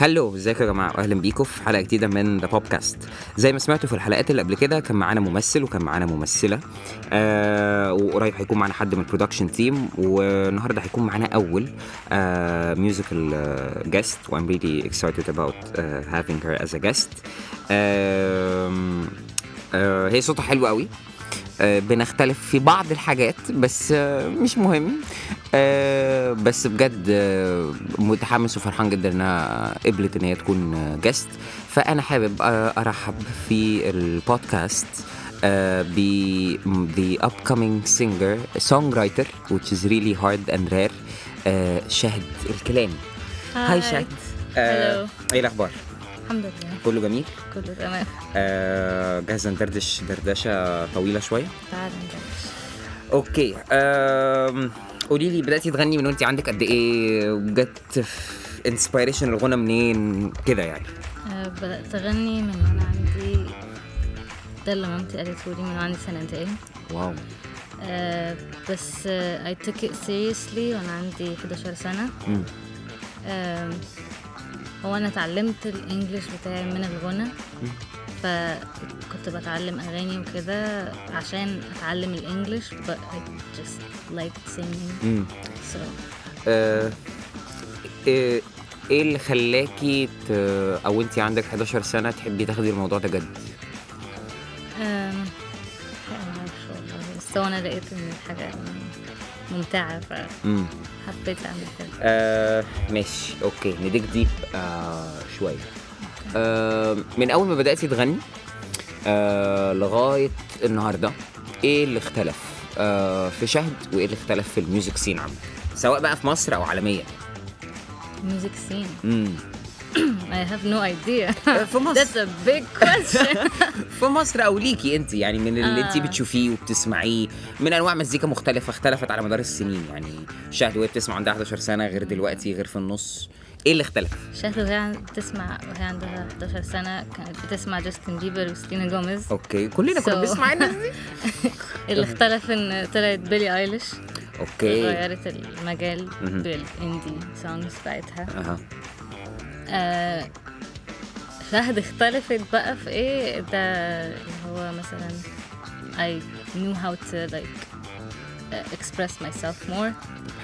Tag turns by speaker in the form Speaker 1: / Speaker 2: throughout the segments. Speaker 1: هلو ازيكم يا جماعه واهلا بيكم في حلقه جديده من ذا بودكاست زي ما سمعتوا في الحلقات اللي قبل كده كان معانا ممثل وكان معانا ممثله آه وقريب هيكون معانا حد من البرودكشن تيم والنهارده هيكون معانا آه، اول ميوزيكال جيست وام ريلي اكسايتد اباوت هافينج هير از ا جيست هي صوتها حلو قوي آه، بنختلف في بعض الحاجات بس آه، مش مهم آه، بس بجد آه، متحمس وفرحان جدا انها قبلت ان هي تكون جاست فانا حابب آه، ارحب في البودكاست آه، ب the upcoming singer songwriter which is really hard and rare آه، شاهد الكلام هاي شاهد آه، ايه الاخبار
Speaker 2: الحمد لله
Speaker 1: كله جميل
Speaker 2: كله تمام
Speaker 1: آه، جاهزه ندردش دردشه طويله شويه
Speaker 2: تعالى نبلش
Speaker 1: اوكي أم، قولي لي بداتي تغني من وانت عندك قد ايه وجت انسبيريشن الغنى منين كده يعني
Speaker 2: آه، بدأت أغني من وأنا عندي ده اللي مامتي قالته لي من وأنا عندي سنتين
Speaker 1: واو
Speaker 2: آه، بس آه، I took it seriously وأنا عندي 11 سنة
Speaker 1: مم.
Speaker 2: آم، هو أنا اتعلمت الإنجليش بتاعي من الغنى فكنت بتعلم أغاني وكده عشان أتعلم الإنجليش but I just liked singing
Speaker 1: مم.
Speaker 2: so
Speaker 1: أه، ايه إيه اللي خلاكي ت... او انت عندك 11 سنه تحبي تاخدي الموضوع ده جد
Speaker 2: أم، لا ما اعرفش والله بس هو انا لقيت ان الحاجه ممتعه
Speaker 1: مم.
Speaker 2: فحبيت اعمل كده
Speaker 1: آه ماشي اوكي نديك ديب آه شويه آه من اول ما بداتي تغني آه لغايه النهارده ايه اللي اختلف آه في شهد وايه اللي اختلف في الميوزك سين عامه سواء بقى في مصر او عالميا
Speaker 2: ميوزك سين
Speaker 1: امم
Speaker 2: I have no idea
Speaker 1: في مصر
Speaker 2: That's a big question
Speaker 1: في مصر او ليكي انت يعني من اللي انت
Speaker 2: آه.
Speaker 1: بتشوفيه وبتسمعيه من انواع مزيكا مختلفه اختلفت على مدار السنين يعني شهد وهي بتسمع عندها 11 سنه غير دلوقتي غير في النص ايه اللي اختلف
Speaker 2: شهد وهي عن- بتسمع وهي عندها 11 سنة كانت بتسمع جاستن بيبر وسلينا جوميز
Speaker 1: اوكي كلنا
Speaker 2: So-
Speaker 1: كنا بنسمع الناس دي
Speaker 2: اللي اختلف ان طلعت بيلي ايليش
Speaker 1: اوكي
Speaker 2: غيرت المجال
Speaker 1: مهم.
Speaker 2: بالاندي سونجز بتاعتها
Speaker 1: اها
Speaker 2: آه، شهد اختلفت بقى في ايه ده اللي هو مثلا I knew how to like uh, express myself more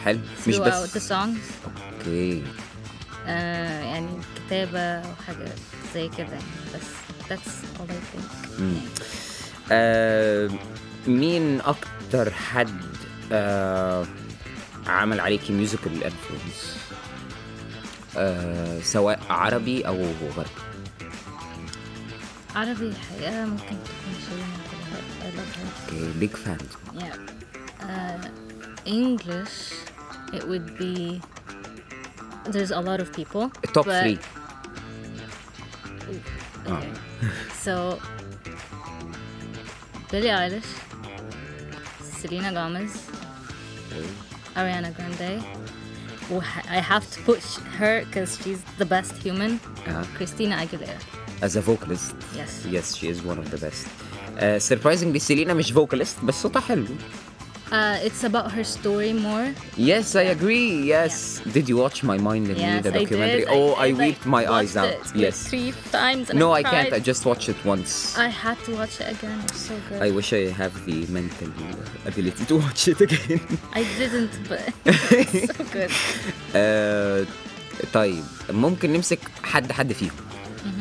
Speaker 1: حلو مش
Speaker 2: throughout the
Speaker 1: بس
Speaker 2: songs
Speaker 1: اوكي
Speaker 2: آه يعني كتابة وحاجة زي كده يعني بس that's all I think
Speaker 1: مم. آه مين اكتر حد آه عمل عليكي ميوزيكال انفلونس آه سواء عربي او غربي
Speaker 2: عربي الحقيقة ممكن تكون شيرين عبد الوهاب I love her
Speaker 1: اوكي بيج فان
Speaker 2: yeah uh, English it would be there's a lot of people
Speaker 1: توب
Speaker 2: but
Speaker 1: 3 Oh.
Speaker 2: Okay. so, Billie Eilish, Selena Gomez, Ariana Grande. Wh- I have to put sh- her because she's the best human.
Speaker 1: Uh-huh.
Speaker 2: Christina Aguilera.
Speaker 1: از ا فوكاليست
Speaker 2: Yes.
Speaker 1: يس شي از ون اوف ذا بيست سربرايزنجلي سيلينا آه، مش فوكاليست بس صوتها حلو
Speaker 2: Uh, it's about her story more.
Speaker 1: Yes, I agree. Yes. Did you watch My Mind in Me,
Speaker 2: yes,
Speaker 1: the
Speaker 2: I
Speaker 1: documentary?
Speaker 2: did.
Speaker 1: Oh, I,
Speaker 2: did, like,
Speaker 1: weeped my eyes
Speaker 2: watched
Speaker 1: out.
Speaker 2: it, like,
Speaker 1: yes.
Speaker 2: Three times. And
Speaker 1: No,
Speaker 2: I, Uh,
Speaker 1: I can't. I
Speaker 2: cried.
Speaker 1: just watched it once.
Speaker 2: I had to watch it again. It's so good.
Speaker 1: I wish I have the mental ability to watch it again.
Speaker 2: I didn't, but it's so good.
Speaker 1: آه، طيب ممكن نمسك حد حد فيهم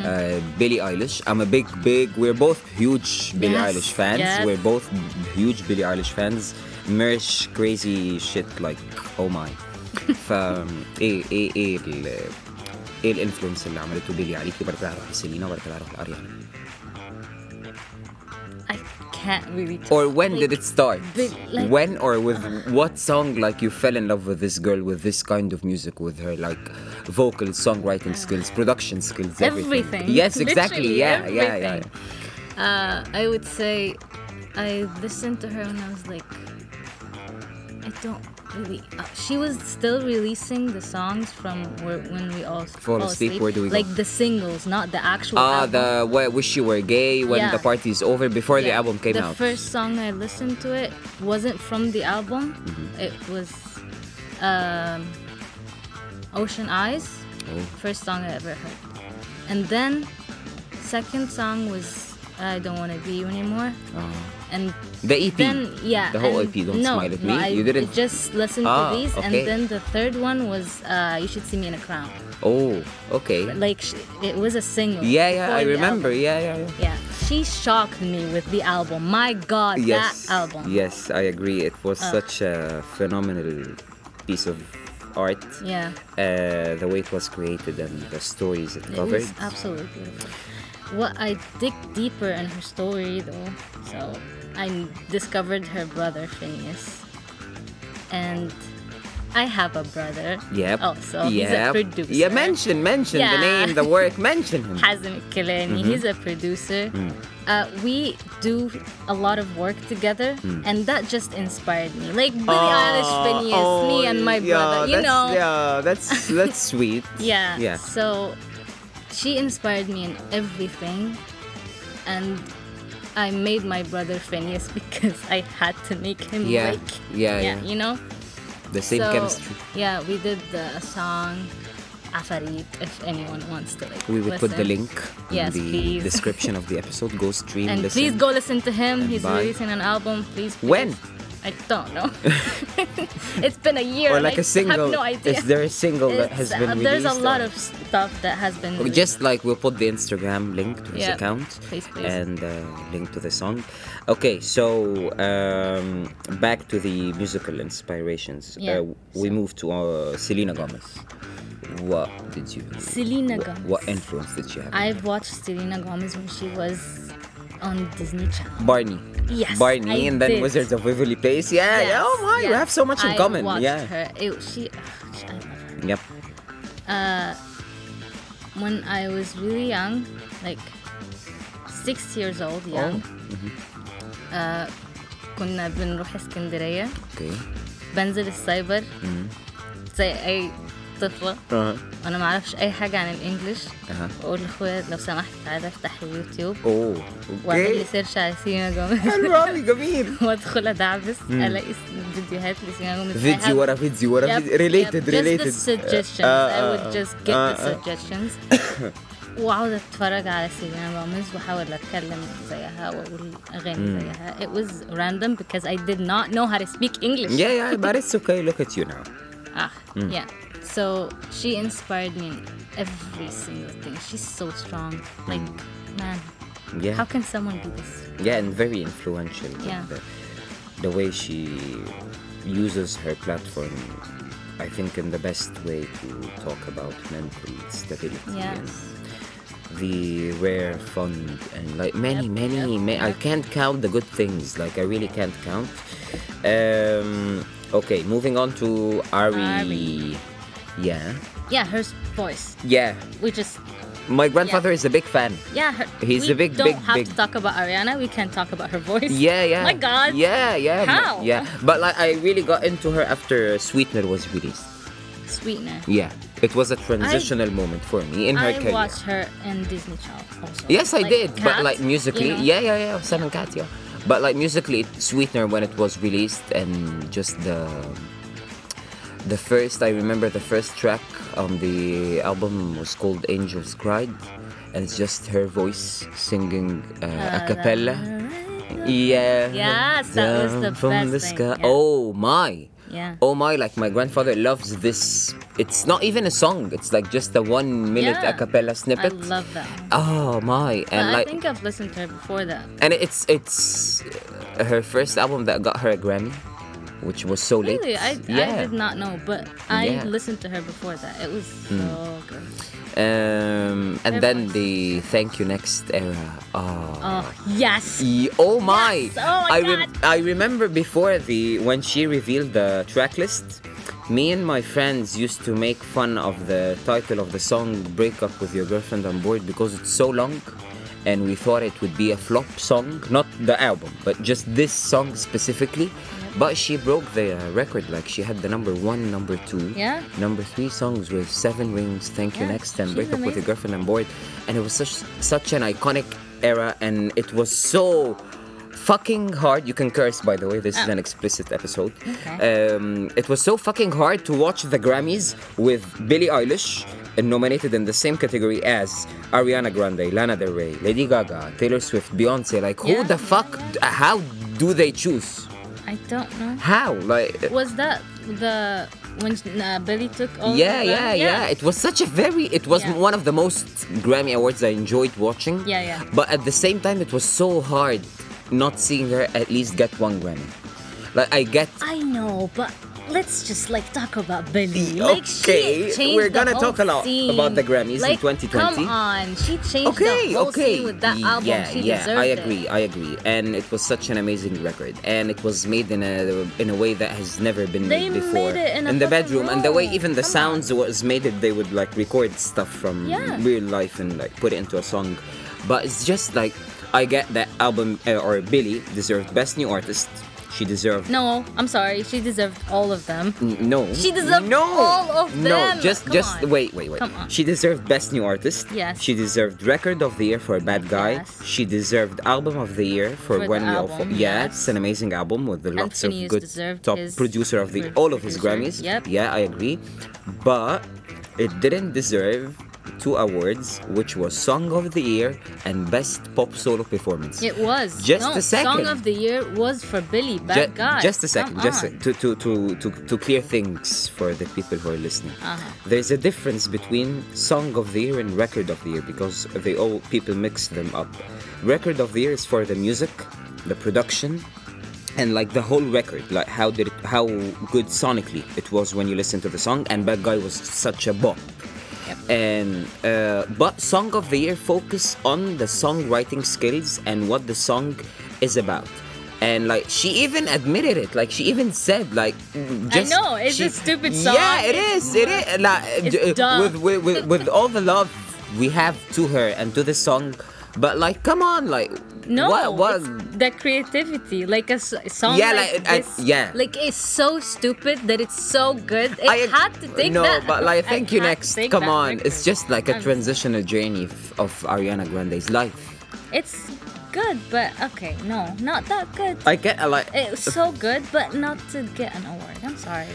Speaker 1: آه، بيلي ايليش I'm a big big we're both huge Billie
Speaker 2: Yes,
Speaker 1: Eilish fans
Speaker 2: yes.
Speaker 1: we're both huge Billie Eilish fans merch crazy shit like oh my ف ايه ايه ايه ال ايه الانفلونس اللي عملته بيلي عليكي وبعد كده هروح لسيلينا وبعد كده هروح لاريانا
Speaker 2: I can't really.
Speaker 1: or when did it start
Speaker 2: Bill- like-
Speaker 1: when or with what song like you fell in love with this girl with this kind of music with her like vocal songwriting skills production skills everything,
Speaker 2: Everything.
Speaker 1: yes exactly
Speaker 2: Literally
Speaker 1: yeah, yeah yeah
Speaker 2: everything. Uh, I would say I listened to her and I was like, I don't really. Uh, she was still releasing the songs from where, when we all
Speaker 1: Fall asleep, where do we go?
Speaker 2: like the singles, not the actual.
Speaker 1: ah
Speaker 2: album.
Speaker 1: the wh- wish you were gay when
Speaker 2: Yeah.
Speaker 1: the party is over before the
Speaker 2: Yeah.
Speaker 1: album came
Speaker 2: the
Speaker 1: out
Speaker 2: first song I listened to it wasn't from the
Speaker 1: Mm-hmm.
Speaker 2: album. It was um, Ocean Eyes.
Speaker 1: Oh.
Speaker 2: first song I ever heard. And then second song was I Don't Wanna Be You Anymore. And
Speaker 1: The E EP.
Speaker 2: then
Speaker 1: Uh-huh.
Speaker 2: yeah,
Speaker 1: The whole
Speaker 2: and
Speaker 1: EP, Don't
Speaker 2: no,
Speaker 1: Smile at
Speaker 2: no,
Speaker 1: Me.
Speaker 2: I
Speaker 1: you didn't.
Speaker 2: just listen
Speaker 1: Ah,
Speaker 2: to these,
Speaker 1: okay.
Speaker 2: and then the third one was uh, You Should See Me in a Crown.
Speaker 1: Oh, okay.
Speaker 2: Like sh- it was a single.
Speaker 1: Yeah, yeah,
Speaker 2: before
Speaker 1: I
Speaker 2: the
Speaker 1: remember.
Speaker 2: album.
Speaker 1: Yeah, yeah, yeah.
Speaker 2: Yeah, she shocked me with the album. My God,
Speaker 1: Yes.
Speaker 2: that album. Oh.
Speaker 1: Yes, I agree. It was such a phenomenal piece of art.
Speaker 2: Yeah.
Speaker 1: Uh, the way it was created and the stories it
Speaker 2: It
Speaker 1: covered.
Speaker 2: was absolutely beautiful. What I dig deeper in her story, though, so I discovered her brother Phineas, and I have a brother.
Speaker 1: Yep.
Speaker 2: Also, Oh, he's
Speaker 1: Yep.
Speaker 2: a producer.
Speaker 1: Yeah, mention, mention the
Speaker 2: Yeah.
Speaker 1: name, the work, mention him.
Speaker 2: Hazem Kileni,
Speaker 1: Mm-hmm.
Speaker 2: he's a producer.
Speaker 1: Mm.
Speaker 2: Uh, we do a lot of work together,
Speaker 1: Mm.
Speaker 2: and that just inspired me. Like Billie Eilish,
Speaker 1: Ah,
Speaker 2: Phineas, me, and my
Speaker 1: yeah,
Speaker 2: brother. You
Speaker 1: that's-
Speaker 2: know,
Speaker 1: Yeah, that's that's sweet.
Speaker 2: Yeah.
Speaker 1: Yeah.
Speaker 2: So she inspired me in everything and I made my brother Phineas because I had to make him
Speaker 1: Yeah.
Speaker 2: like
Speaker 1: Yeah, yeah.
Speaker 2: you know?
Speaker 1: The same
Speaker 2: So,
Speaker 1: chemistry.
Speaker 2: Yeah, we did the song Afarit if anyone wants to like
Speaker 1: We will put the
Speaker 2: listen.
Speaker 1: link in
Speaker 2: Yes,
Speaker 1: the
Speaker 2: please.
Speaker 1: description of the episode. Go stream
Speaker 2: And
Speaker 1: listen.
Speaker 2: please go listen to him.
Speaker 1: And
Speaker 2: He's
Speaker 1: buy.
Speaker 2: releasing an album. Please. please.
Speaker 1: When?
Speaker 2: I don't know. it's been a year.
Speaker 1: or
Speaker 2: and
Speaker 1: like
Speaker 2: I
Speaker 1: a single.
Speaker 2: Have no idea.
Speaker 1: Is there a single that has
Speaker 2: It's-
Speaker 1: been
Speaker 2: uh,
Speaker 1: released?
Speaker 2: There's a lot
Speaker 1: or-
Speaker 2: of stuff that has been.
Speaker 1: We Just like we'll put the Instagram link to his
Speaker 2: Yeah.
Speaker 1: account
Speaker 2: Please, please.
Speaker 1: and uh, link to the song. Okay, so um, back to the musical inspirations.
Speaker 2: Yeah.
Speaker 1: Uh, we moved to uh, Selena Gomez. What did you?
Speaker 2: Selena
Speaker 1: wh-
Speaker 2: Gomez.
Speaker 1: What influence did you have?
Speaker 2: I've watched Selena Gomez when she was on Disney Channel.
Speaker 1: Barney.
Speaker 2: Yes,
Speaker 1: Barney,
Speaker 2: I
Speaker 1: and then
Speaker 2: did.
Speaker 1: Wizards of Waverly Place. Yeah, yeah.
Speaker 2: Yes,
Speaker 1: Oh my, we
Speaker 2: yes.
Speaker 1: have so much in
Speaker 2: I
Speaker 1: common.
Speaker 2: watched
Speaker 1: yeah.
Speaker 2: her. It, she, ugh, she- I love her.
Speaker 1: Yep.
Speaker 2: When I was really young, like six years old,
Speaker 1: Oh,
Speaker 2: young,
Speaker 1: mm-hmm.
Speaker 2: uh, كنا بنروح اسكندرية
Speaker 1: Okay.
Speaker 2: بنزل السايبر
Speaker 1: Mm-hmm.
Speaker 2: زي أي طفلة
Speaker 1: Uh-huh.
Speaker 2: وأنا معرفش أي حاجة عن الإنجليش
Speaker 1: أها.
Speaker 2: بقول لأخويا لو سمحت تعالى افتح اليوتيوب
Speaker 1: Oh.
Speaker 2: واعمل لي
Speaker 1: Okay.
Speaker 2: سيرش على سيلينا جوميز
Speaker 1: حلو قوي جميل
Speaker 2: وادخل ادعبس الاقي فيديوهات لسينا جوميز I
Speaker 1: فيديو
Speaker 2: have-
Speaker 1: ورا فيديو ورا
Speaker 2: Yep,
Speaker 1: فيديو ريليتد
Speaker 2: yep,
Speaker 1: ريليتد
Speaker 2: just the suggestions
Speaker 1: Uh,
Speaker 2: I would just get the suggestions واقعد اتفرج على سيلينا جوميز واحاول اتكلم زيها واقول اغاني زيها it was random because I did not know how to speak English
Speaker 1: Yeah, Mm. yeah, but it's okay. Look at you now.
Speaker 2: Ah, yeah. So she inspired me in every single thing. She's so strong. Like, man,
Speaker 1: Mm. Yeah.
Speaker 2: how can someone do this?
Speaker 1: Yeah, and very influential.
Speaker 2: Yeah.
Speaker 1: The, the way she uses her platform, I think, in the best way to talk about mental stability and
Speaker 2: Yes.
Speaker 1: the rare fun and like many,
Speaker 2: Yep,
Speaker 1: many.
Speaker 2: yep,
Speaker 1: ma- I
Speaker 2: yep.
Speaker 1: can't count the good things. Like I really can't count. Um, okay, moving on to Ari.
Speaker 2: Ari.
Speaker 1: Yeah.
Speaker 2: Yeah, her s- voice.
Speaker 1: Yeah.
Speaker 2: We just
Speaker 1: My grandfather is a big fan.
Speaker 2: yeah. Her,
Speaker 1: He's a
Speaker 2: we
Speaker 1: big, big,
Speaker 2: don't have
Speaker 1: big-
Speaker 2: to talk about Ariana. We can talk about her voice.
Speaker 1: Yeah, yeah.
Speaker 2: My God.
Speaker 1: Yeah, yeah. but-
Speaker 2: How?
Speaker 1: Yeah, but like I really got into her after Sweetener was released.
Speaker 2: Sweetener.
Speaker 1: Yeah, it was a transitional moment for me in her
Speaker 2: I
Speaker 1: career.
Speaker 2: watched her in Disney Channel also.
Speaker 1: Yes, I
Speaker 2: Like,
Speaker 1: did, but
Speaker 2: Cats,
Speaker 1: like musically,
Speaker 2: you know?
Speaker 1: yeah, yeah, yeah, Seven Cat, yeah. But like musically, it- Sweetener when it was released and just the the first I remember the first track on the album was called Angels Cried, and it's just her voce singing uh, a cappella. Yeah.
Speaker 2: Yes, that was
Speaker 1: down
Speaker 2: the
Speaker 1: from
Speaker 2: best
Speaker 1: the
Speaker 2: thing,
Speaker 1: sky.
Speaker 2: yeah.
Speaker 1: Oh my.
Speaker 2: Yeah.
Speaker 1: Oh my, like my grandfather loves this. It's not even a song, it's like just a one minute a
Speaker 2: Yeah.
Speaker 1: cappella
Speaker 2: I
Speaker 1: snippet.
Speaker 2: love that. one.
Speaker 1: Oh my,
Speaker 2: But
Speaker 1: and
Speaker 2: I
Speaker 1: like
Speaker 2: think I've listened to her before that.
Speaker 1: and it's it's uh, her first album that got her a Grammy, which was so late.
Speaker 2: Really, I, I
Speaker 1: yeah.
Speaker 2: did not know, but I
Speaker 1: Yeah. Hmm.
Speaker 2: listened to her before that. It was so good.
Speaker 1: Um, and
Speaker 2: Her
Speaker 1: then
Speaker 2: voice.
Speaker 1: the Thank You Next era. Oh.
Speaker 2: Oh yes,
Speaker 1: Ye- Oh my!
Speaker 2: Yes! Oh my
Speaker 1: I, I remember before the when she revealed the track list, me and my friends used to make fun of the title of the song "Break Up with Your Girlfriend on Board" because it's so long, and we thought it would be a flop song, not the album, but just this song specifically. But she broke the uh, record. Like she had the number one, number two,
Speaker 2: Yeah.
Speaker 1: number three songs with seven rings. Thank you
Speaker 2: Yeah,
Speaker 1: next and
Speaker 2: she's
Speaker 1: break up with your
Speaker 2: amazing.
Speaker 1: girlfriend on board and it was such such an iconic era and it was so fucking hard. You can curse, by the way. This is
Speaker 2: Oh.
Speaker 1: an explicit episode.
Speaker 2: Okay.
Speaker 1: Um, it was so fucking hard to watch the Grammys with Billie Eilish, nominated in the same category as Ariana Grande, Lana Del Rey, Lady Gaga, Taylor Swift, Beyonce. Like, who
Speaker 2: Yeah,
Speaker 1: the
Speaker 2: yeah,
Speaker 1: fuck? How do they choose?
Speaker 2: I don't know.
Speaker 1: How? Like,
Speaker 2: Was that the when uh, Billy took all
Speaker 1: yeah,
Speaker 2: the
Speaker 1: yeah, yeah, It was such a very. It was
Speaker 2: Yeah.
Speaker 1: one of the most Grammy awards I enjoyed watching.
Speaker 2: Yeah, yeah.
Speaker 1: But at the same time, it was so hard not seeing her at least get one Grammy. Like I get.
Speaker 2: I know, but let's just like talk about Billy. Like,
Speaker 1: E, Okay,
Speaker 2: she changed
Speaker 1: we're
Speaker 2: the
Speaker 1: gonna
Speaker 2: whole
Speaker 1: talk a lot
Speaker 2: scene.
Speaker 1: about the Grammys in
Speaker 2: like,
Speaker 1: 2020.
Speaker 2: Come on, she changed
Speaker 1: Okay,
Speaker 2: the whole
Speaker 1: okay. E,
Speaker 2: scene with that album.
Speaker 1: Yeah,
Speaker 2: she
Speaker 1: yeah,
Speaker 2: deserved
Speaker 1: I
Speaker 2: it.
Speaker 1: agree, I agree. And it was such an amazing record, and it was made in a in a way that has never been
Speaker 2: They
Speaker 1: made before.
Speaker 2: made it in a
Speaker 1: the
Speaker 2: fucking
Speaker 1: bedroom, and the way
Speaker 2: room.
Speaker 1: even the
Speaker 2: Come
Speaker 1: sounds was made it, they would like record stuff from
Speaker 2: Yeah.
Speaker 1: real life and like put it into a song. But it's just like I get that album uh, or Billy deserved best new artist. She deserved
Speaker 2: No, I'm sorry. She deserved all of them.
Speaker 1: N- Mm, No.
Speaker 2: She deserved
Speaker 1: no.
Speaker 2: all of
Speaker 1: No,
Speaker 2: them.
Speaker 1: just
Speaker 2: Come
Speaker 1: just
Speaker 2: on.
Speaker 1: wait, wait, wait.
Speaker 2: Come on.
Speaker 1: She deserved Best New Artist.
Speaker 2: Yes.
Speaker 1: She deserved Record of the Year for Bad Guy.
Speaker 2: Yes.
Speaker 1: She deserved Album of the Year for,
Speaker 2: For the
Speaker 1: When We All
Speaker 2: album,
Speaker 1: Fall. Yeah,
Speaker 2: yes.
Speaker 1: it's an amazing album with the lots
Speaker 2: Anthony
Speaker 1: of good
Speaker 2: deserved
Speaker 1: top
Speaker 2: his-
Speaker 1: producer of the
Speaker 2: pro-
Speaker 1: all of his Grammys.
Speaker 2: producer, yep.
Speaker 1: Yeah, I agree. But it didn't deserve two awards, which was Song of the Year and Best Pop Solo Performance.
Speaker 2: It was
Speaker 1: Just
Speaker 2: no,
Speaker 1: a second.
Speaker 2: Song of the year was for Billy. Bad
Speaker 1: Ju-
Speaker 2: guy.
Speaker 1: Just a second,
Speaker 2: Come
Speaker 1: just a-
Speaker 2: on.
Speaker 1: to, to, to, to, to clear things for the people who are listening.
Speaker 2: Uh-huh.
Speaker 1: There's a difference between song of the year and record of the year because they all people mix them up. Record of the year is for the music, the production, and like the whole record, like how did it, how good sonically it was when you listen to the song. And Bad Guy was such a bop. And uh, but song of the year focus on the songwriting skills and what the song is about. And like she even admitted it, like she even said, like just
Speaker 2: know, it's a stupid song,
Speaker 1: Yeah, it
Speaker 2: it's
Speaker 1: is. It is. Like,
Speaker 2: It's
Speaker 1: uh,
Speaker 2: dumb.
Speaker 1: with, with, with, with all the love we have to her and to the song, but like, come on, like
Speaker 2: No,
Speaker 1: what, what
Speaker 2: it's the creativity, like a s- song.
Speaker 1: Yeah,
Speaker 2: like,
Speaker 1: like, I-
Speaker 2: this,
Speaker 1: yeah.
Speaker 2: Like it's so stupid that it's so good. It
Speaker 1: I
Speaker 2: had to take
Speaker 1: no,
Speaker 2: that.
Speaker 1: but like,
Speaker 2: it
Speaker 1: thank you
Speaker 2: had to
Speaker 1: next.
Speaker 2: take
Speaker 1: Come
Speaker 2: that
Speaker 1: on,
Speaker 2: record.
Speaker 1: it's just like a
Speaker 2: I'm-
Speaker 1: transitional journey of, of Ariana Grande's life.
Speaker 2: It's good, but okay, no, not that good.
Speaker 1: I get a like.
Speaker 2: It was so good, but not to get an award. I'm sorry.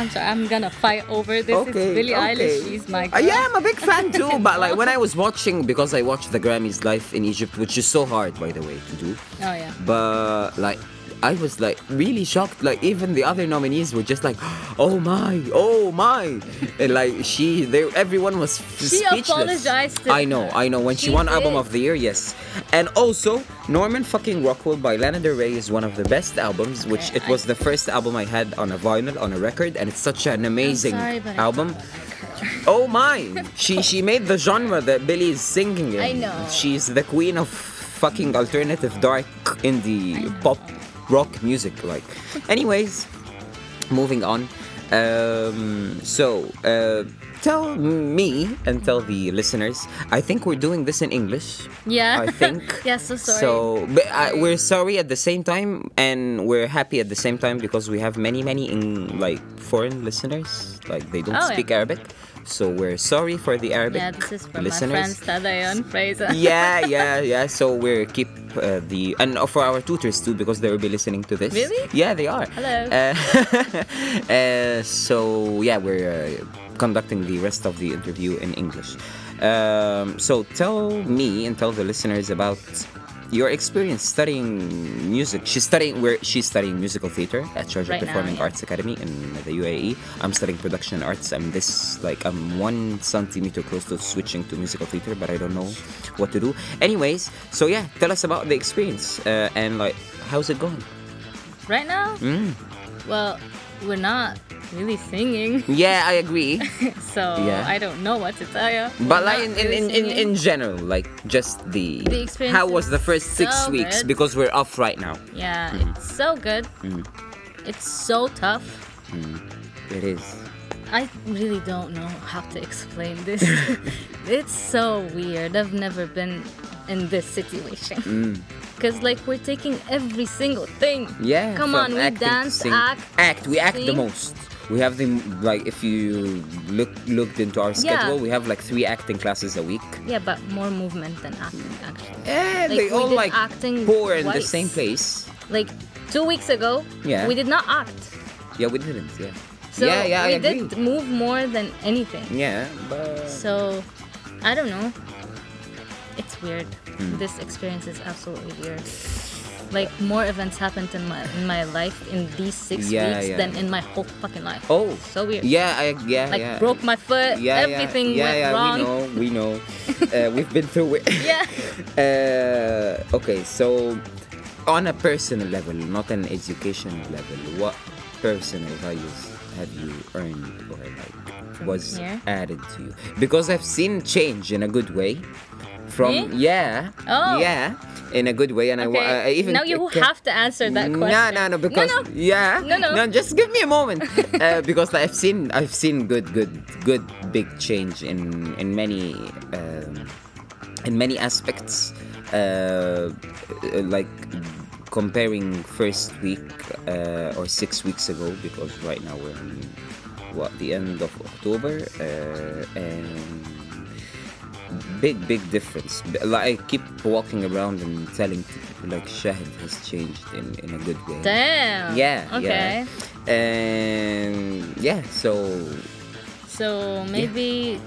Speaker 2: I'm sorry. I'm gonna fight over this. it's Billie Eilish. She's my
Speaker 1: Uh,
Speaker 2: girl.
Speaker 1: yeah, I'm a big fan too. but like when I was watching, because I watched the Grammys live in Egypt, which is so hard, by the way, to do.
Speaker 2: Oh yeah.
Speaker 1: But like, I was like really shocked. Like even the other nominees were just like, oh my, oh my, and like she, they, everyone was f-
Speaker 2: She
Speaker 1: speechless.
Speaker 2: apologized to
Speaker 1: I know,
Speaker 2: her.
Speaker 1: I know. When she,
Speaker 2: She
Speaker 1: won Album
Speaker 2: did.
Speaker 1: of the Year, yes, and also Norman fucking Rockwell by Lana Del Rey is one of the best albums. which
Speaker 2: Okay,
Speaker 1: it
Speaker 2: I-
Speaker 1: was the first album I had on a vinyl on a record, and it's such an amazing
Speaker 2: I'm sorry, but I
Speaker 1: album.
Speaker 2: don't like her.
Speaker 1: Oh my! She she made the genre that Billy is singing in.
Speaker 2: I know.
Speaker 1: She's the queen of fucking alternative dark indie
Speaker 2: know.
Speaker 1: pop rock music. Like, anyways, moving on. Um, so uh, tell me and tell the listeners. I think we're doing this in English.
Speaker 2: Yeah.
Speaker 1: I think.
Speaker 2: yeah. So sorry.
Speaker 1: So, but uh, we're sorry at the same time, and we're happy at the same time because we have many, many in like foreign listeners. Like they don't
Speaker 2: Oh, yeah.
Speaker 1: speak Arabic, so we're sorry for the Arabic
Speaker 2: yeah, this is from my
Speaker 1: listeners.
Speaker 2: friends Tadeo and Fraser.
Speaker 1: yeah, yeah, yeah. So we're keep uh, the and for our tutors too because they will be listening to this.
Speaker 2: Really?
Speaker 1: Yeah, they are.
Speaker 2: Hello.
Speaker 1: Uh, uh, so yeah, we're uh, conducting the rest of the interview in English. Um, so tell me and tell the listeners about your experience studying music. She's studying where she's studying musical theater at Georgia
Speaker 2: Right now,
Speaker 1: Performing
Speaker 2: yeah.
Speaker 1: Arts Academy in the UAE. I'm studying production arts. I'm this like I'm one centimeter close to switching to musical theater, but I don't know what to do. Anyways, so yeah, tell us about the experience uh, and like how's it going?
Speaker 2: Right now,
Speaker 1: Mm.
Speaker 2: well, we're not really singing,
Speaker 1: Yeah, I agree.
Speaker 2: so
Speaker 1: Yeah.
Speaker 2: I don't know what to tell you.
Speaker 1: But
Speaker 2: We're
Speaker 1: like
Speaker 2: not
Speaker 1: in,
Speaker 2: really
Speaker 1: in, in, in,
Speaker 2: singing.
Speaker 1: in general, like just the,
Speaker 2: The experience
Speaker 1: how was
Speaker 2: is
Speaker 1: the first six
Speaker 2: so
Speaker 1: weeks
Speaker 2: good.
Speaker 1: because we're off right now.
Speaker 2: yeah, it's so good.
Speaker 1: Mm.
Speaker 2: It's so tough.
Speaker 1: It is.
Speaker 2: I really don't know how to explain this. it's so weird. I've never been in this situation. Cause like we're taking every single thing.
Speaker 1: Mm. Yeah.
Speaker 2: Come
Speaker 1: from
Speaker 2: on, we
Speaker 1: acting to
Speaker 2: dance,
Speaker 1: sing-
Speaker 2: act,
Speaker 1: act. We act the
Speaker 2: sing.
Speaker 1: most. we have the like if you look looked into our schedule, we have like three acting classes a week.
Speaker 2: Yeah, but more movement than acting,
Speaker 1: Mm.
Speaker 2: actually.
Speaker 1: And
Speaker 2: Like,
Speaker 1: they
Speaker 2: we
Speaker 1: all
Speaker 2: did
Speaker 1: like
Speaker 2: acting
Speaker 1: pour in the
Speaker 2: twice.
Speaker 1: same place.
Speaker 2: Like two weeks ago,
Speaker 1: Yeah.
Speaker 2: we did not act.
Speaker 1: Yeah, we didn't. Yeah.
Speaker 2: So
Speaker 1: yeah, yeah, I
Speaker 2: we
Speaker 1: agree.
Speaker 2: did move more than anything.
Speaker 1: Yeah, but
Speaker 2: So I don't know. It's weird.
Speaker 1: Hmm.
Speaker 2: This experience is absolutely weird. Like more events happened in my in my life in these six
Speaker 1: Yeah,
Speaker 2: weeks
Speaker 1: yeah.
Speaker 2: than in my whole fucking life.
Speaker 1: oh,
Speaker 2: so weird.
Speaker 1: Yeah, I yeah
Speaker 2: Like
Speaker 1: yeah.
Speaker 2: broke my foot.
Speaker 1: yeah,
Speaker 2: everything
Speaker 1: yeah,
Speaker 2: went
Speaker 1: yeah,
Speaker 2: wrong.
Speaker 1: We know, we know. uh, we've been through it.
Speaker 2: Yeah.
Speaker 1: Uh, okay, so on a personal level, not an educational level, what personal values have you earned or like was
Speaker 2: here?
Speaker 1: added to you? Because I've seen change in a good way. From
Speaker 2: Me?
Speaker 1: yeah,
Speaker 2: Oh.
Speaker 1: yeah, in a good way, and I wa- I, I even
Speaker 2: now you
Speaker 1: ca- Mm,
Speaker 2: have to answer that question.
Speaker 1: no, no, no, because
Speaker 2: no, no.
Speaker 1: yeah,
Speaker 2: No, no.
Speaker 1: Just give me a moment, uh, because I've seen I've seen good, good, good big change in in many um, in many aspects, uh, like comparing first week uh, or six weeks ago, because right now we're in what the end of October uh, and big big difference B- like i keep walking around and telling people like shahid has changed in, in a good way
Speaker 2: Damn.
Speaker 1: yeah
Speaker 2: Okay.
Speaker 1: yeah. and yeah so
Speaker 2: So maybe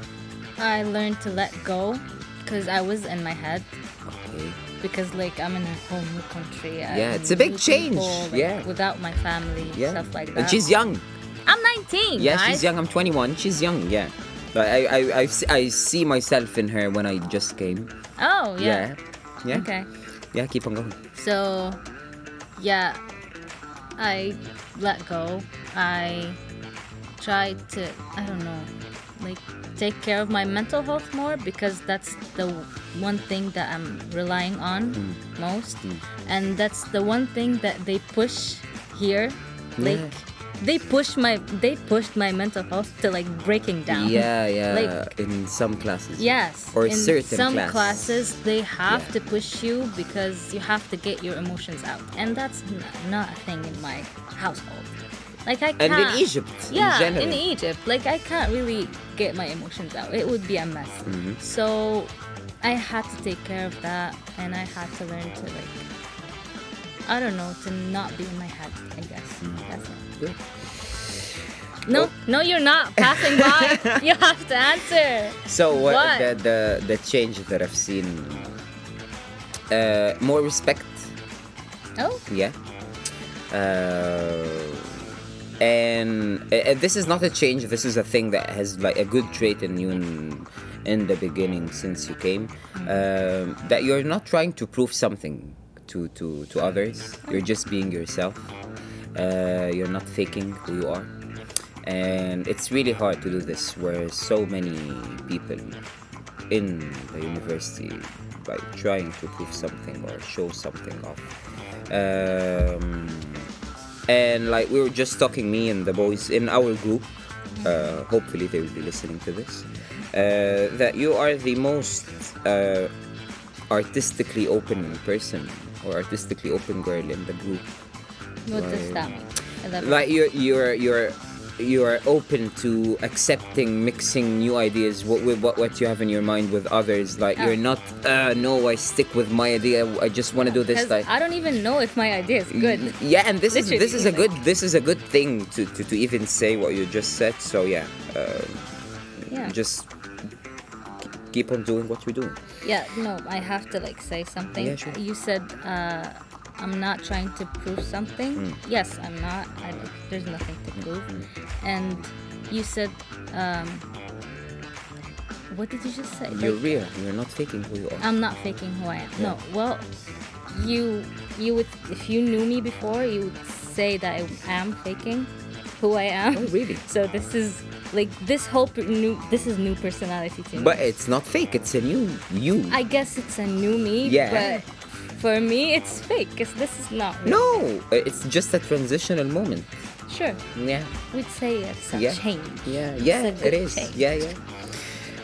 Speaker 2: I learned to let go because I was in my head
Speaker 1: okay
Speaker 2: because like I'm in a whole new country. I'm
Speaker 1: Yeah, it's a big
Speaker 2: new
Speaker 1: change.
Speaker 2: people, like,
Speaker 1: Yeah.
Speaker 2: Without my family,
Speaker 1: yeah
Speaker 2: stuff like that.
Speaker 1: and she's young
Speaker 2: I'm 19.
Speaker 1: yeah
Speaker 2: guys.
Speaker 1: she's young i'm 21 she's young yeah but I, I, I, s- I see myself in her when i just came
Speaker 2: Oh yeah.
Speaker 1: yeah yeah
Speaker 2: Okay.
Speaker 1: yeah keep on going
Speaker 2: So yeah, I let go. I tried to I don't know, like take care of my mental health more because that's the one thing that I'm relying on
Speaker 1: Mm.
Speaker 2: most, and that's the one thing that they push here,
Speaker 1: Yeah.
Speaker 2: like. They push my they pushed my mental health to like breaking down.
Speaker 1: yeah yeah
Speaker 2: Like-
Speaker 1: in some classes
Speaker 2: Yes.
Speaker 1: or
Speaker 2: in
Speaker 1: certain
Speaker 2: some
Speaker 1: class.
Speaker 2: classes they have
Speaker 1: Yeah.
Speaker 2: to push you because you have to get your emotions out, and that's n- not a thing in my household. Like I
Speaker 1: and
Speaker 2: can't.
Speaker 1: in egypt
Speaker 2: Yeah, E-
Speaker 1: in general
Speaker 2: Egypt, like I can't really get my emotions out. It would be a mess.
Speaker 1: Mhm.
Speaker 2: So I had to take care of that, and I had to learn to like. I don't know to not be in my head. I guess that's it.
Speaker 1: Mm-hmm. Good.
Speaker 2: No,
Speaker 1: Oh.
Speaker 2: no, you're not passing by. you have to answer.
Speaker 1: So what,
Speaker 2: What?
Speaker 1: The, the the change that I've seen uh, more respect,
Speaker 2: Oh,
Speaker 1: yeah. Uh, and uh, this is not a change. This is a thing that has like a good trait in you in, in the beginning since you came. Um, that you're not trying to prove something to to to others. You're just being yourself. Uh, you're not faking who you are. And it's really hard to do this where so many people in the university like trying to prove something or show something off um, and like we were just talking me and the boys in our group uh, hopefully they will be listening to this uh, that you are the most uh, artistically open person or artistically open girl in the group
Speaker 2: what does
Speaker 1: Like-
Speaker 2: that mean? Elaborate.
Speaker 1: like you're you're you're you're open to accepting mixing new ideas what with what, what you have in your mind with others like you're
Speaker 2: Yeah.
Speaker 1: not uh no i stick with my idea i just want to do this
Speaker 2: 'Cause
Speaker 1: like
Speaker 2: I don't even know if my idea is good.
Speaker 1: yeah and this is this
Speaker 2: Literally,
Speaker 1: is a
Speaker 2: like-
Speaker 1: good this is a good thing to, to, to even say what you just said so yeah, uh,
Speaker 2: Yeah.
Speaker 1: just keep on doing what you're doing
Speaker 2: Yeah, no, I have to like say something.
Speaker 1: Yeah, sure.
Speaker 2: You said uh, I'm not trying to prove something.
Speaker 1: Hmm.
Speaker 2: Yes, I'm not. I, there's nothing to prove. And you said, um, what did you just say?
Speaker 1: you're
Speaker 2: Like,
Speaker 1: real you're not faking who you are
Speaker 2: I'm not faking who I am. No, well, you you would if you knew me before, you would say that I am faking who I am.
Speaker 1: oh really
Speaker 2: So this is like this whole per- new this is new personality to me.
Speaker 1: but it's not fake it's a new you
Speaker 2: I guess it's a new me.
Speaker 1: Yeah.
Speaker 2: But for me, it's fake because this is not. Real.
Speaker 1: no it's just a transitional moment
Speaker 2: Sure,
Speaker 1: yeah
Speaker 2: we'd say it's a
Speaker 1: Yeah.
Speaker 2: change.
Speaker 1: Yeah, yeah,
Speaker 2: a good
Speaker 1: it is.
Speaker 2: change.
Speaker 1: Yeah, yeah.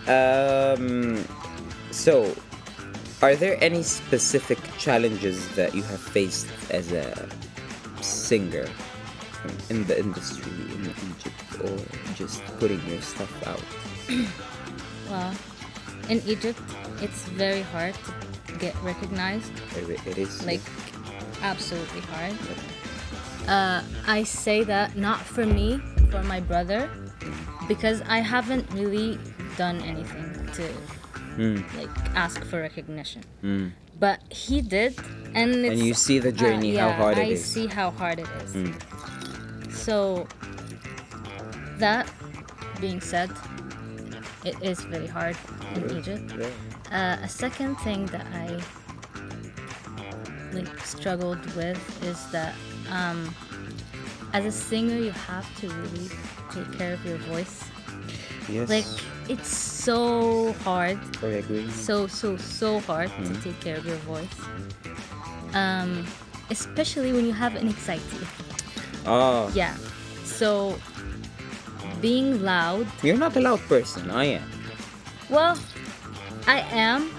Speaker 1: Um, so, are there any specific challenges that you have faced as a singer in the industry in Egypt or just putting your stuff out?
Speaker 2: Well, in Egypt, it's very hard to get recognized.
Speaker 1: It, it is
Speaker 2: Like, absolutely hard. Uh, I say that not for me, for my brother, because I haven't really done anything to like ask for recognition. But he did, and it's,
Speaker 1: Mm-hmm.
Speaker 2: uh,
Speaker 1: you see the journey, how
Speaker 2: yeah,
Speaker 1: hard it
Speaker 2: I
Speaker 1: is. Mm.
Speaker 2: see how hard it is. So that being said, it is very hard in Egypt. Uh, a second thing that I like struggled with is that um, as a singer, you have to really take care of your voice.
Speaker 1: yes.
Speaker 2: Like it's so hard,
Speaker 1: I agree.
Speaker 2: so so so hard to take care of your voice. Um, especially when you have an anxiety.
Speaker 1: Oh,
Speaker 2: Yeah. So being loud
Speaker 1: you're not a loud person. I am.
Speaker 2: Well, I am.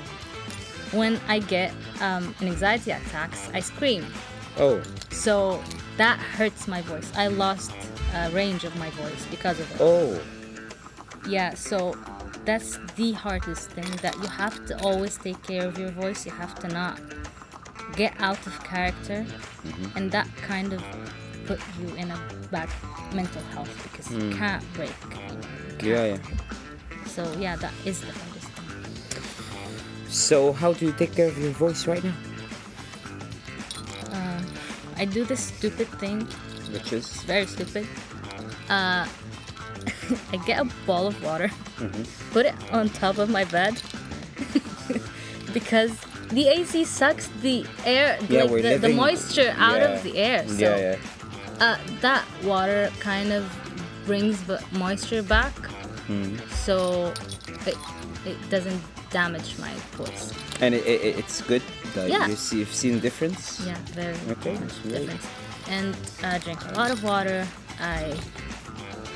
Speaker 2: When I get um, an anxiety attacks, I scream.
Speaker 1: Oh,
Speaker 2: So that hurts my voice. I lost uh, range of my voice because of it.
Speaker 1: oh,
Speaker 2: Yeah, so that's the hardest thing that you have to always take care of your voice. You have to not get out of character, and that kind of put you in a bad mental health because you can't break. You
Speaker 1: yeah,
Speaker 2: can't.
Speaker 1: yeah.
Speaker 2: So yeah, that is the hardest thing.
Speaker 1: So, how do you take care of your voice right now?
Speaker 2: Uh, I do this stupid thing.
Speaker 1: Which
Speaker 2: It's
Speaker 1: is
Speaker 2: very stupid. Uh, I get a ball of water,
Speaker 1: Mm-hmm.
Speaker 2: put it on top of my bed because the AC sucks the air,
Speaker 1: Yeah,
Speaker 2: like
Speaker 1: we're
Speaker 2: the, the
Speaker 1: living-
Speaker 2: moisture out
Speaker 1: yeah.
Speaker 2: of the air. So
Speaker 1: yeah, yeah.
Speaker 2: Uh, that water kind of brings the moisture back,
Speaker 1: Mm-hmm.
Speaker 2: so it, it doesn't damage my voice.
Speaker 1: And it, it, it's good that
Speaker 2: Yeah.
Speaker 1: you see, you've seen difference.
Speaker 2: Yeah, very
Speaker 1: Okay,
Speaker 2: much
Speaker 1: great.
Speaker 2: difference. And I drink a lot of water. I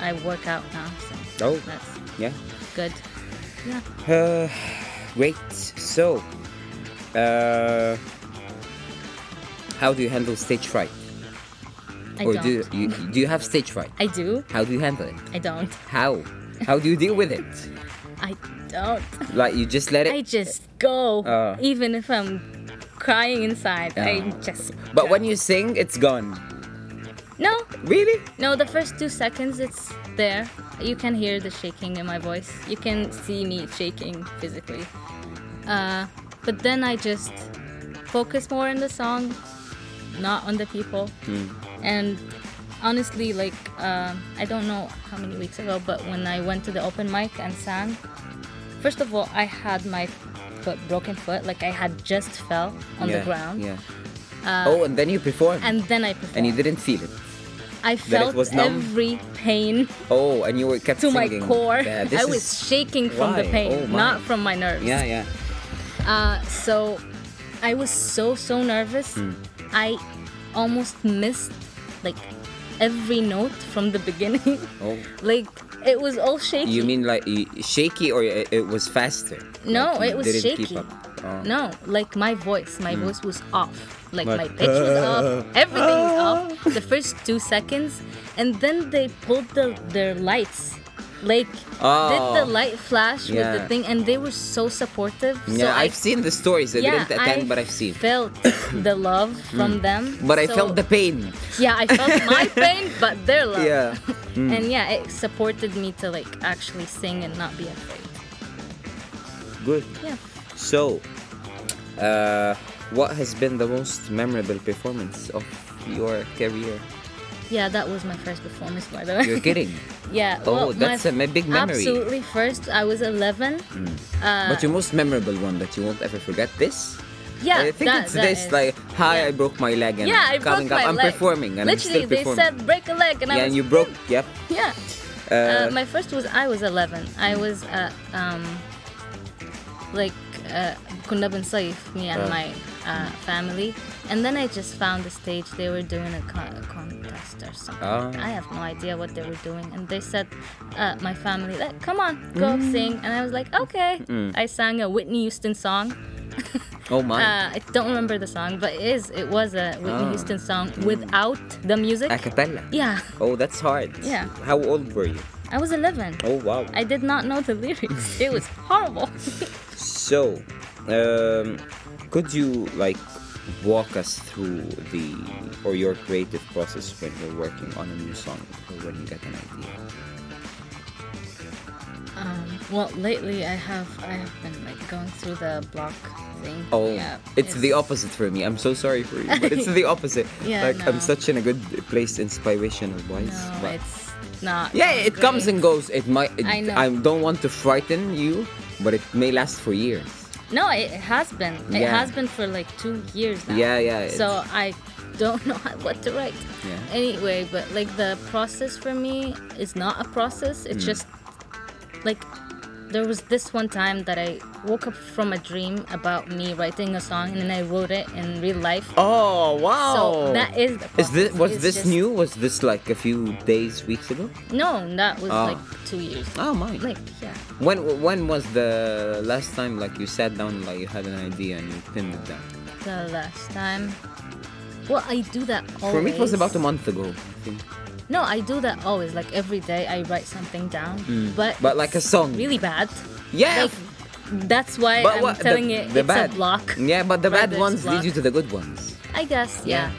Speaker 2: I work out now, so
Speaker 1: Oh.
Speaker 2: that's
Speaker 1: Yeah.
Speaker 2: good. Yeah.
Speaker 1: Uh, great. So, uh, how do you handle stage fright?
Speaker 2: I
Speaker 1: or
Speaker 2: don't.
Speaker 1: do you do you have stage fright?
Speaker 2: I do.
Speaker 1: How do you handle it?
Speaker 2: I don't.
Speaker 1: How? How do you deal with it?
Speaker 2: I don't.
Speaker 1: Like you just let it.
Speaker 2: I just go,
Speaker 1: Uh.
Speaker 2: even if I'm crying inside. I
Speaker 1: Yeah.
Speaker 2: just.
Speaker 1: But when you sing, it's gone.
Speaker 2: No,
Speaker 1: Really?
Speaker 2: no. The first two seconds, it's there. You can hear the shaking in my voice. You can see me shaking physically. Uh, but then I just focus more on the song, not on the people.
Speaker 1: Hmm.
Speaker 2: And honestly, like um I don't know how many weeks ago, but when I went to the open mic and sang, first of all, I had my foot broken foot, like I had just fell on
Speaker 1: yeah,
Speaker 2: the ground, Uh,
Speaker 1: Yeah. oh, and then you perform, and,
Speaker 2: and then I performed.
Speaker 1: you didn't feel it.
Speaker 2: I felt
Speaker 1: was numb?
Speaker 2: every pain
Speaker 1: Oh, and you were kept
Speaker 2: to
Speaker 1: singing.
Speaker 2: my core.
Speaker 1: Yeah, this
Speaker 2: I
Speaker 1: is-
Speaker 2: was shaking from the
Speaker 1: Why?
Speaker 2: pain,
Speaker 1: Oh, my.
Speaker 2: not from my nerves.
Speaker 1: Yeah, yeah.
Speaker 2: Uh, so I was so so nervous.
Speaker 1: Hmm.
Speaker 2: I almost missed like every note from the beginning.
Speaker 1: Oh.
Speaker 2: like it was all shaky.
Speaker 1: You mean like y- shaky, or it, it was faster?
Speaker 2: No,
Speaker 1: Like, you
Speaker 2: it was
Speaker 1: didn't
Speaker 2: shaky.
Speaker 1: Keep up. Oh. Hmm.
Speaker 2: No, like my voice, my voice was off. Like,
Speaker 1: Like,
Speaker 2: my pitch was off. Everything's off. The first two seconds, and then they pulled the, their lights. Like
Speaker 1: Oh.
Speaker 2: did the light flash with
Speaker 1: Yeah.
Speaker 2: the thing, and they were so supportive. so
Speaker 1: yeah,
Speaker 2: I,
Speaker 1: I've seen the stories. I
Speaker 2: yeah,
Speaker 1: didn't attend, but I've seen. Hmm.
Speaker 2: Felt the love from them.
Speaker 1: But I
Speaker 2: so-
Speaker 1: felt the pain.
Speaker 2: yeah, I felt my pain, but their love.
Speaker 1: Yeah. Hmm.
Speaker 2: And yeah, it supported me to like actually sing and not be afraid.
Speaker 1: Good.
Speaker 2: Yeah.
Speaker 1: So, uh, what has been the most memorable performance of your career?
Speaker 2: Yeah, that was my first performance, by the way.
Speaker 1: You're kidding.
Speaker 2: Yeah.
Speaker 1: Oh,
Speaker 2: well, my
Speaker 1: that's a me- big memory. Hmm.
Speaker 2: Absolutely. First, I was 11. Uh,
Speaker 1: but your most memorable one that you won't ever forget this?
Speaker 2: yeah,
Speaker 1: I think
Speaker 2: that-
Speaker 1: it's
Speaker 2: that
Speaker 1: this
Speaker 2: is-
Speaker 1: like, hi,
Speaker 2: yeah.
Speaker 1: I broke my leg and
Speaker 2: yeah, I
Speaker 1: I'm coming
Speaker 2: broke my
Speaker 1: up, I'm
Speaker 2: leg.
Speaker 1: performing and
Speaker 2: Literally,
Speaker 1: I'm still
Speaker 2: they
Speaker 1: performing.
Speaker 2: said break a leg, and I
Speaker 1: yeah,
Speaker 2: was
Speaker 1: and you broke, yep.
Speaker 2: yeah.
Speaker 1: Uh,
Speaker 2: Uh, my first was I was 11. I was uh, um, like uh, كنا بنصيف me and
Speaker 1: Uh.
Speaker 2: my uh, family, and then I just found the stage. They were doing a, con- a contest or something.
Speaker 1: Ah.
Speaker 2: I have no idea what they were doing, and they said uh, my family like,
Speaker 1: Mm.
Speaker 2: "Come on, go sing," and I was like, "Okay." I sang a Whitney Houston song.
Speaker 1: Oh my.
Speaker 2: Uh, I don't remember the song, but it is it was a Whitney
Speaker 1: Ah.
Speaker 2: Houston song without the music.
Speaker 1: A cappella.
Speaker 2: yeah,
Speaker 1: Oh, that's hard.
Speaker 2: Yeah.
Speaker 1: How old were you?
Speaker 2: I was 11.
Speaker 1: Oh wow.
Speaker 2: I did not know the lyrics. It was horrible.
Speaker 1: So, um, could you like walk us through the or your creative process when you're working on a new song or when you get an idea?
Speaker 2: um, well, lately I have I have been like going through the block thing.
Speaker 1: Oh,
Speaker 2: yeah,
Speaker 1: it's, the opposite for me. I'm so sorry for you, but it's the opposite.
Speaker 2: Yeah,
Speaker 1: like I'm
Speaker 2: no.
Speaker 1: such in a good place inspiration wise.
Speaker 2: No,
Speaker 1: but
Speaker 2: it's not.
Speaker 1: yeah, it
Speaker 2: great.
Speaker 1: comes and goes. It might. It,
Speaker 2: I know.
Speaker 1: don't want to frighten you, but it may last for years.
Speaker 2: No, it has been. It
Speaker 1: Yeah.
Speaker 2: has been for like two years now.
Speaker 1: Yeah, yeah. it's-
Speaker 2: So I don't know how- what to write.
Speaker 1: Yeah.
Speaker 2: Anyway, but like the process for me is not a process. It's
Speaker 1: Mm.
Speaker 2: just like there was this one time that I woke up from a dream about me writing a song and then I wrote it in real life.
Speaker 1: Oh wow!
Speaker 2: So that is the
Speaker 1: Is this
Speaker 2: process.
Speaker 1: was
Speaker 2: It's
Speaker 1: this
Speaker 2: just-
Speaker 1: new? Was this like a few days, weeks ago?
Speaker 2: No, that was
Speaker 1: Oh.
Speaker 2: like two years.
Speaker 1: Oh my!
Speaker 2: Like yeah.
Speaker 1: When when was the last time like you sat down like you had an idea and you pinned it down?
Speaker 2: The last time. Well, I do that always.
Speaker 1: For me, it was about a month ago. I think.
Speaker 2: No, I do that always. Like every day, I write something down. But
Speaker 1: Mm. But like a
Speaker 2: it's
Speaker 1: song.
Speaker 2: really bad.
Speaker 1: Yeah.
Speaker 2: Like, that's why
Speaker 1: but
Speaker 2: I'm
Speaker 1: what-
Speaker 2: telling
Speaker 1: the,
Speaker 2: it
Speaker 1: the
Speaker 2: it's
Speaker 1: bad
Speaker 2: a block.
Speaker 1: Yeah, but the bad
Speaker 2: Writer's
Speaker 1: ones lead
Speaker 2: block.
Speaker 1: you to the good ones.
Speaker 2: I guess,
Speaker 1: Yeah.
Speaker 2: yeah.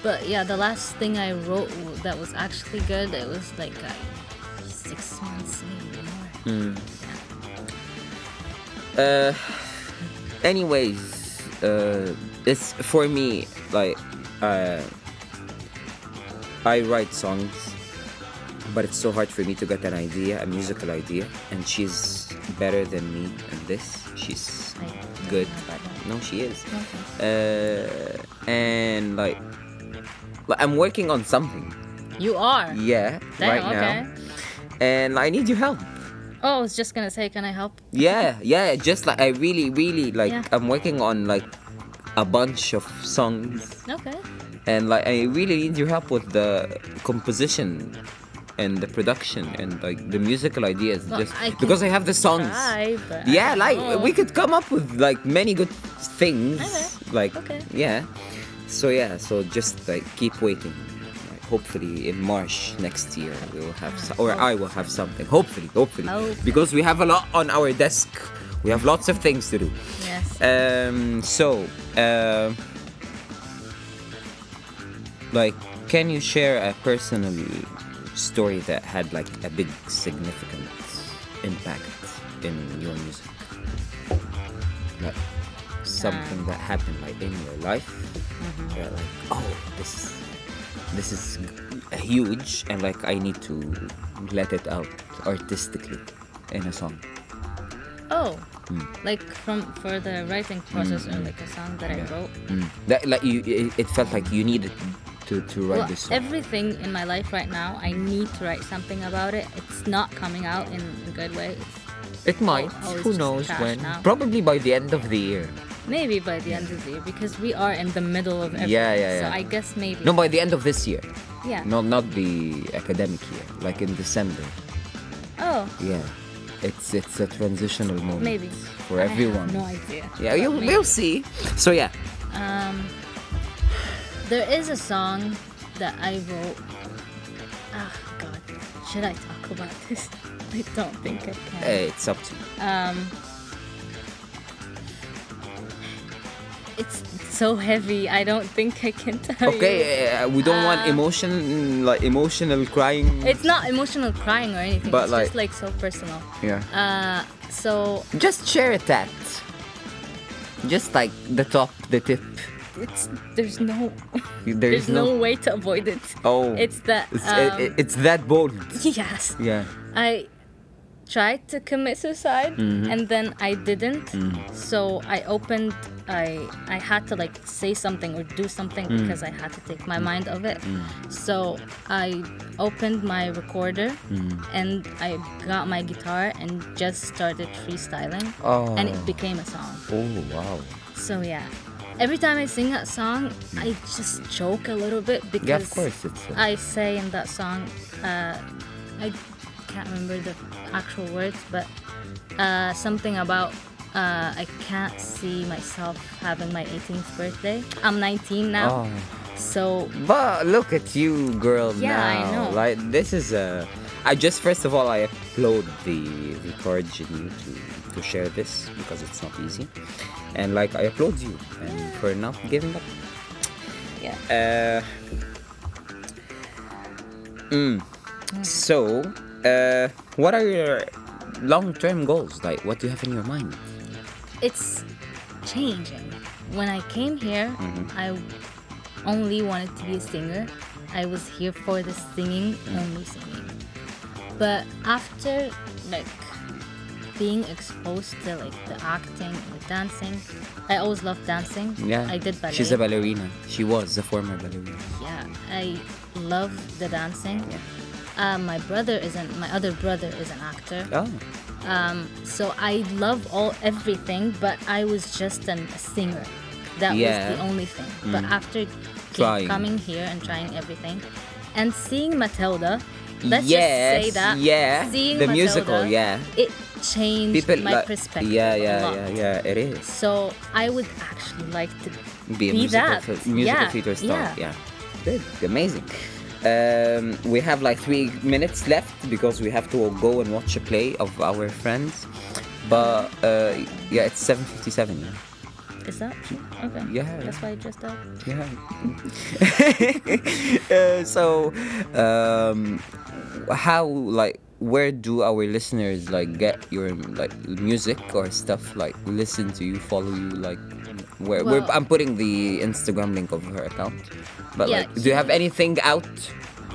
Speaker 2: But yeah, the last thing I wrote w- that was actually good, it was like uh, six months, maybe
Speaker 1: Hmm.
Speaker 2: more.
Speaker 1: Uh, anyways, uh, it's for me like uh, I write songs, but it's so hard for me to get an idea, a musical idea, and she's better than me in this. She's
Speaker 2: I don't
Speaker 1: good.
Speaker 2: know about that.
Speaker 1: No, she is.
Speaker 2: Okay.
Speaker 1: Uh, and like, like I'm working on something.
Speaker 2: You are.
Speaker 1: Yeah,
Speaker 2: Damn,
Speaker 1: right now. And I need your help.
Speaker 2: Oh, I was just gonna say, can I help?
Speaker 1: Yeah, yeah, just like I really, really like
Speaker 2: Yeah.
Speaker 1: I'm working on like a bunch of songs
Speaker 2: Okay.
Speaker 1: and like I really need your help with the composition and the production and like the musical ideas
Speaker 2: Well,
Speaker 1: just
Speaker 2: I can
Speaker 1: because I have the songs.
Speaker 2: Try, but I
Speaker 1: Yeah,
Speaker 2: don't
Speaker 1: like
Speaker 2: know.
Speaker 1: we could come up with like many good things.
Speaker 2: Okay.
Speaker 1: Like
Speaker 2: Okay.
Speaker 1: yeah. So yeah, so just like keep waiting. Like, hopefully in March next year we will have so- or I will have something. Hopefully, hopefully.
Speaker 2: Hopefully.
Speaker 1: Because we have a lot on our desk. We have lots of things to do.
Speaker 2: Yes.
Speaker 1: Um so um like can you share a personal story that had like a big significant impact in your music like something that happened like in your life you're like oh this this is huge and like i need to let it out artistically in a song
Speaker 2: Oh,
Speaker 1: hmm.
Speaker 2: like from for the writing process or like a song that
Speaker 1: Yeah.
Speaker 2: I wrote.
Speaker 1: Mm. that like you it, it felt like you needed to, to write
Speaker 2: Well,
Speaker 1: this song
Speaker 2: everything in my life right now, I need to write something about it. It's not coming out in a good way.
Speaker 1: It
Speaker 2: It's
Speaker 1: might.
Speaker 2: always
Speaker 1: Who
Speaker 2: just
Speaker 1: knows
Speaker 2: trash
Speaker 1: when?
Speaker 2: now.
Speaker 1: Probably by the end of the year.
Speaker 2: maybe by the end of the year because we are in the middle of everything.
Speaker 1: Yeah, yeah,
Speaker 2: So
Speaker 1: yeah.
Speaker 2: I guess maybe.
Speaker 1: No, by the end of this year.
Speaker 2: yeah.
Speaker 1: No, not the academic year. Like in December.
Speaker 2: Oh,
Speaker 1: Yeah. It's it's a transitional moment.
Speaker 2: maybe.
Speaker 1: For
Speaker 2: I have
Speaker 1: everyone.
Speaker 2: no idea.
Speaker 1: Yeah,
Speaker 2: but
Speaker 1: you,
Speaker 2: maybe.
Speaker 1: we'll see. So yeah.
Speaker 2: Um, there is a song that I wrote. Ah, God, should I talk about this? I don't think I can.
Speaker 1: eh, it's up to you.
Speaker 2: Um, it's so heavy. I don't think I can tell you.
Speaker 1: Okay, eh, we don't want
Speaker 2: Uh,
Speaker 1: emotion like emotional crying.
Speaker 2: It's not emotional crying or anything.
Speaker 1: eh. But
Speaker 2: it's just like so personal.
Speaker 1: yeah.
Speaker 2: Uh, so
Speaker 1: Just share it that. Just like the top, the tip.
Speaker 2: it's there's no
Speaker 1: There
Speaker 2: there's
Speaker 1: is no.
Speaker 2: no, way to avoid it.
Speaker 1: Oh.
Speaker 2: It's that.
Speaker 1: It's,
Speaker 2: um,
Speaker 1: it- it's that bold.
Speaker 2: yes.
Speaker 1: Yeah.
Speaker 2: I tried to commit suicide and then I didn't. So I opened I I had to like say something or do something because I had to take my mind of it. So I opened my recorder and I got my guitar and just started freestyling
Speaker 1: Oh.
Speaker 2: and it became a song.
Speaker 1: oh wow.
Speaker 2: So yeah. Every time I sing that song, I just joke a little bit because
Speaker 1: Yeah, of course it's. uh, a-
Speaker 2: I say in that song, uh, I can't remember the actual words, but uh, something about Uh, I can't see myself having my 18th birthday. I'm 19
Speaker 1: Oh.
Speaker 2: now, so
Speaker 1: But look at you, girl.
Speaker 2: Yeah, I
Speaker 1: now.
Speaker 2: know.
Speaker 1: Like this is a. I just first of all I applaud the the courage in you to to share this because it's not easy, and like I applaud you and for not giving up.
Speaker 2: yeah.
Speaker 1: Uh, mm. So, uh, what are your long-term goals? Like, what do you have in your mind?
Speaker 2: it's changing. When I came here,
Speaker 1: Mm-hmm.
Speaker 2: I only wanted to be a singer. I was here for the singing,
Speaker 1: Mm-hmm.
Speaker 2: only singing. But after like being exposed to like the acting, the dancing, I always loved dancing.
Speaker 1: Yeah,
Speaker 2: I did ballet.
Speaker 1: She's a ballerina. She was a former ballerina.
Speaker 2: Yeah, I love the dancing. Uh, my brother isn't. My other brother is an actor.
Speaker 1: Oh,
Speaker 2: Um, so I love all everything, but I was just an, a singer. That
Speaker 1: Yeah. Mm.
Speaker 2: was the only thing. But after keep
Speaker 1: Trying.
Speaker 2: coming here and trying everything, and seeing Matilda, let's
Speaker 1: Yes,
Speaker 2: just say that
Speaker 1: yeah,
Speaker 2: seeing
Speaker 1: the
Speaker 2: Matilda,
Speaker 1: musical, yeah.
Speaker 2: it changed
Speaker 1: people
Speaker 2: my
Speaker 1: like-
Speaker 2: perspective.
Speaker 1: Yeah,
Speaker 2: a
Speaker 1: yeah,
Speaker 2: lot.
Speaker 1: yeah, yeah. It is.
Speaker 2: So I would actually like to
Speaker 1: be a musical,
Speaker 2: that
Speaker 1: fi- musical
Speaker 2: yeah,
Speaker 1: theater star.
Speaker 2: Yeah.
Speaker 1: Yeah. Good. Amazing. Um, we have like three minutes left because we have to go and watch a play of our friends. But uh, yeah, it's 7:57. Yeah.
Speaker 2: Is that true? okay?
Speaker 1: Yeah.
Speaker 2: That's why I dressed up.
Speaker 1: Yeah. uh, so, um, how like where do our listeners like get your like music or stuff like listen to you, follow you like? Where we're,
Speaker 2: Well-
Speaker 1: I'm putting the Instagram link of her account, but
Speaker 2: Yeah,
Speaker 1: like, do you have anything out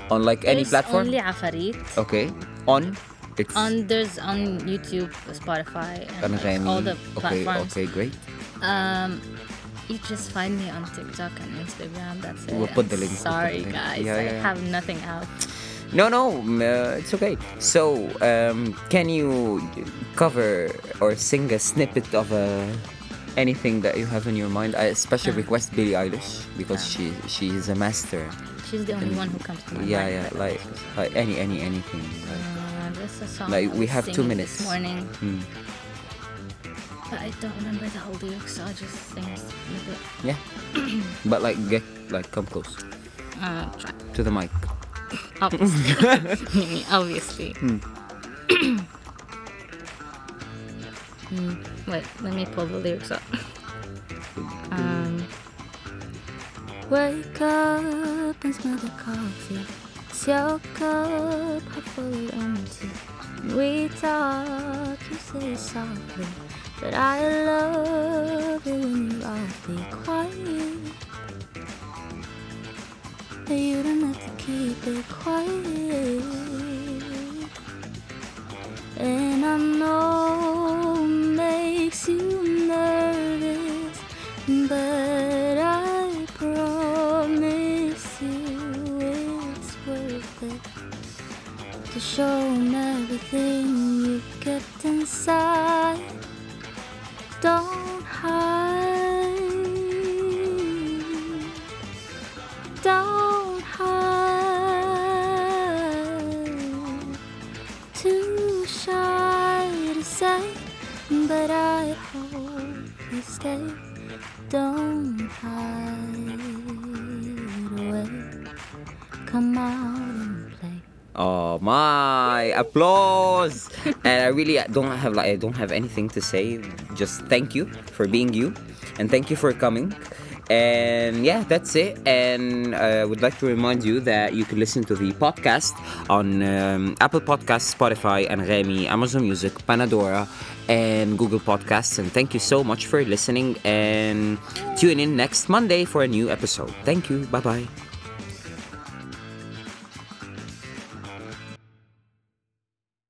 Speaker 1: on like any
Speaker 2: There's
Speaker 1: platform? Oh.
Speaker 2: Only Afarit.
Speaker 1: okay, on it's
Speaker 2: On there's on YouTube, Spotify, and like,
Speaker 1: Anagami.
Speaker 2: all the
Speaker 1: okay,
Speaker 2: platforms.
Speaker 1: okay, great.
Speaker 2: Um, you just find me on TikTok and Instagram. That's it.
Speaker 1: We'll put the
Speaker 2: I'm
Speaker 1: link, we'll put the
Speaker 2: Sorry,
Speaker 1: link.
Speaker 2: guys.
Speaker 1: Yeah,
Speaker 2: I
Speaker 1: yeah, yeah.
Speaker 2: have nothing out.
Speaker 1: No, no, m- uh, it's okay. So, um, can you cover or sing a snippet of uh, anything that you have in your mind? I especially
Speaker 2: Ah.
Speaker 1: request Billie Eilish because she she is a master.
Speaker 2: She's the only one who comes to Ah. my
Speaker 1: Yeah,
Speaker 2: mind,
Speaker 1: yeah,
Speaker 2: but-
Speaker 1: like like any any anything. Like,
Speaker 2: Uh, there's a song.
Speaker 1: Like,
Speaker 2: I
Speaker 1: we
Speaker 2: was
Speaker 1: have two
Speaker 2: singing
Speaker 1: minutes.
Speaker 2: This morning,
Speaker 1: hmm,
Speaker 2: but I don't remember the whole lyrics, so I just sing a snippet.
Speaker 1: yeah, but like get like come close
Speaker 2: Uh, try.
Speaker 1: to the mic.
Speaker 2: Obviously. Obviously. Mm, Wait, let me pull the lyrics up. Um, Wake up and smell the coffee. It's your cup half full or empty. We talk, you say softly. But I love it when you're awfully quiet. But you don't have to keep it quiet. And I know it makes you nervous, but I promise you it's worth it to show 'em everything you kept inside. Don't hide. Don't hide. Too shy to say, but I hope you stay. Don't hide away. Come out and play.
Speaker 1: Oh my! Applause! and I really don't have like I don't have anything to say. Just thank you for being you, and thank you for coming. And yeah, that's it. And I would like to remind you that you can listen to the podcast on um, Apple Podcasts, Spotify, and Remy, Amazon Music, Panadora, and Google Podcasts. And thank you so much for listening. And tune in next Monday for a new episode. Thank you. Bye bye.